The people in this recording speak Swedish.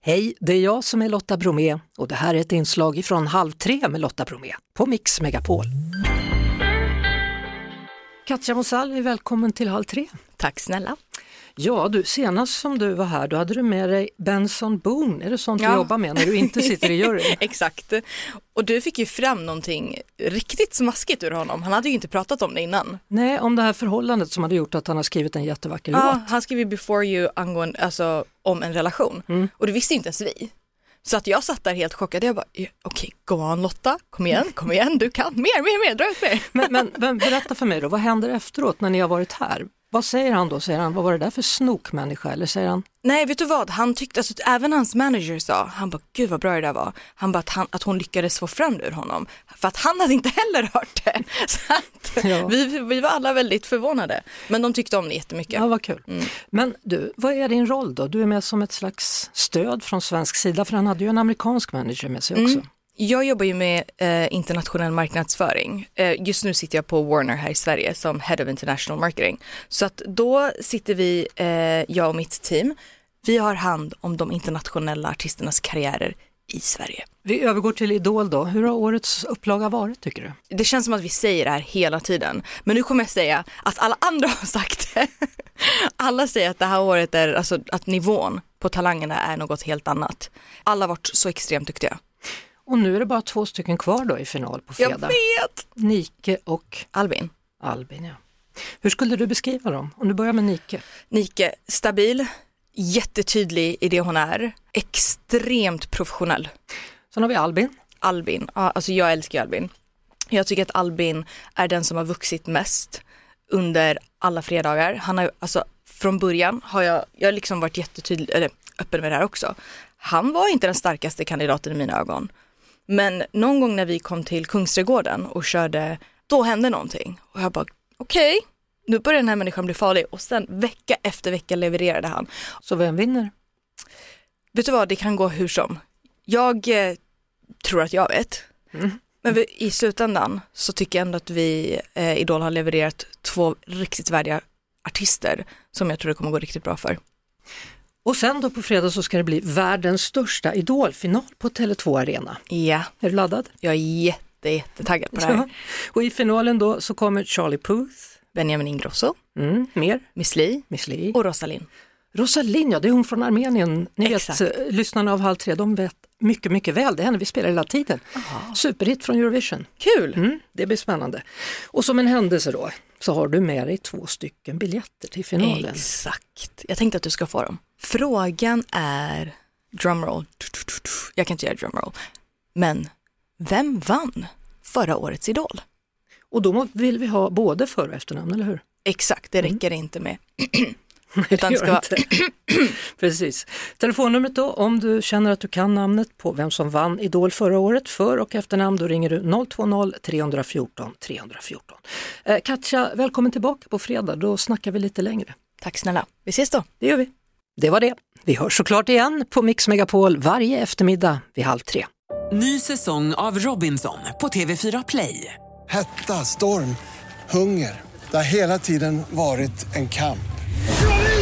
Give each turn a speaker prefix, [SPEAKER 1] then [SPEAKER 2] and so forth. [SPEAKER 1] Hej, det är jag som är Lotta Bromé och det här är ett inslag från Halv tre med Lotta Bromé på Mix Megapol. Katja Mosall, välkommen till Halv tre.
[SPEAKER 2] Tack snälla.
[SPEAKER 1] Ja, du, senast som du var här då hade du med dig Benson Boone, är det sånt
[SPEAKER 2] Ja.
[SPEAKER 1] du jobbar med när du inte sitter i juryn?
[SPEAKER 2] Exakt. Och du fick ju fram någonting riktigt smaskigt ur honom. Han hade ju inte pratat om det innan.
[SPEAKER 1] Nej, om det här förhållandet som hade gjort att han har skrivit en jättevacker låt.
[SPEAKER 2] Ja, han skrev ju before you angående, alltså, om en relation och det visste inte ens vi. Så att jag satt där helt chockad. Jag bara, okej, go on Lotta, kom igen, kom igen, du kan, mer, mer, mer, dra ut mer.
[SPEAKER 1] Men, men, men berätta för mig då, vad händer efteråt när ni har varit här? Vad säger han då? Säger han, vad var det där för snokmänniska? Eller säger han,
[SPEAKER 2] Nej, vet du vad, han tyckte, alltså, även hans manager sa, han bara, gud vad bra det där var. Han bara, att, han, att hon lyckades få fram det ur honom, för att han hade inte heller hört det. Så att,
[SPEAKER 1] Ja.
[SPEAKER 2] vi, vi var alla väldigt förvånade, men de tyckte om det jättemycket.
[SPEAKER 1] ja vad kul. Men du, vad är din roll då? Du är med som ett slags stöd från svensk sida, för han hade ju en amerikansk manager med sig också.
[SPEAKER 2] Jag jobbar ju med eh, internationell marknadsföring. Eh, just nu sitter jag på Warner här i Sverige som Head of International Marketing. Så att då sitter vi, eh, jag och mitt team, vi har hand om de internationella artisternas karriärer i Sverige.
[SPEAKER 1] Vi övergår till Idol då. Hur har årets upplaga varit tycker du?
[SPEAKER 2] Det känns som att vi säger det här hela tiden, men nu kommer jag säga att alla andra har sagt det. Alla säger att det här året är, alltså att nivån på talangerna är något helt annat. Alla har varit så extremt duktiga.
[SPEAKER 1] Och nu är det bara två stycken kvar då i final på
[SPEAKER 2] Jag
[SPEAKER 1] fredag.
[SPEAKER 2] vet!
[SPEAKER 1] Nike och
[SPEAKER 2] Albin.
[SPEAKER 1] Albin. Ja. Hur skulle du beskriva dem? Om du börjar med Nike.
[SPEAKER 2] Nike, stabil, jättetydlig i det hon är, extremt professionell.
[SPEAKER 1] Sen har vi Albin.
[SPEAKER 2] Albin, ja, alltså jag älskar ju Albin. Jag tycker att Albin är den som har vuxit mest under alla fredagar. Han har ju, alltså från början har jag, jag har liksom varit jättetydlig, eller öppen med det här också. Han var inte den starkaste kandidaten i mina ögon. Men någon gång när vi kom till Kungsträdgården och körde, då hände någonting. Och jag bara, okej, nu börjar den här människan bli farlig. Och sen vecka efter vecka levererade han.
[SPEAKER 1] Så vem vinner?
[SPEAKER 2] Vet du vad, det kan gå hur som. Jag eh, tror att jag vet. Men vi, i slutändan så tycker jag ändå att vi eh, Idol har levererat två riktigt värdiga artister som jag tror det kommer gå riktigt bra för.
[SPEAKER 1] Och sen då på fredag så ska det bli världens största idolfinal på Tele2 Arena.
[SPEAKER 2] Ja,
[SPEAKER 1] Är du laddad?
[SPEAKER 2] jag är jätte, jättetaggad på det här.
[SPEAKER 1] Ja. Och i finalen då så kommer Charlie Puth,
[SPEAKER 2] Benjamin Ingrosso,
[SPEAKER 1] mm, mer,
[SPEAKER 2] Miss Li
[SPEAKER 1] Miss Li.
[SPEAKER 2] och Rosalind.
[SPEAKER 1] Rosalind, ja det är hon från Armenien. Ni
[SPEAKER 2] Exakt.
[SPEAKER 1] vet, eh, lyssnarna av Halv tre, de vet mycket, mycket väl. Det är henne vi spelar hela tiden. Superhit från Eurovision.
[SPEAKER 2] Kul!
[SPEAKER 1] Mm, det blir spännande. Och som en händelse då, så har du med dig två stycken biljetter till finalen.
[SPEAKER 2] Exakt, jag tänkte att du ska få dem. Frågan är, drumroll, jag kan inte göra drumroll, men vem vann förra årets Idol?
[SPEAKER 1] Och då må- vill vi ha både för och efternamn, eller hur?
[SPEAKER 2] Exakt, det räcker inte med.
[SPEAKER 1] Utan
[SPEAKER 2] det ska vara-
[SPEAKER 1] Precis. Telefonnumret då, om du känner att du kan namnet på vem som vann Idol förra året, för och efternamn, då ringer du 020-314 314. Eh, Katja, välkommen tillbaka på fredag, då snackar vi lite längre.
[SPEAKER 2] Tack snälla, vi ses då.
[SPEAKER 1] Det gör vi. Det var det. Vi hörs såklart igen på Mix Megapol varje eftermiddag vid halv tre.
[SPEAKER 3] Ny säsong av Robinson på TV4 Play.
[SPEAKER 4] Hetta, storm, hunger. Det har hela tiden varit en kamp.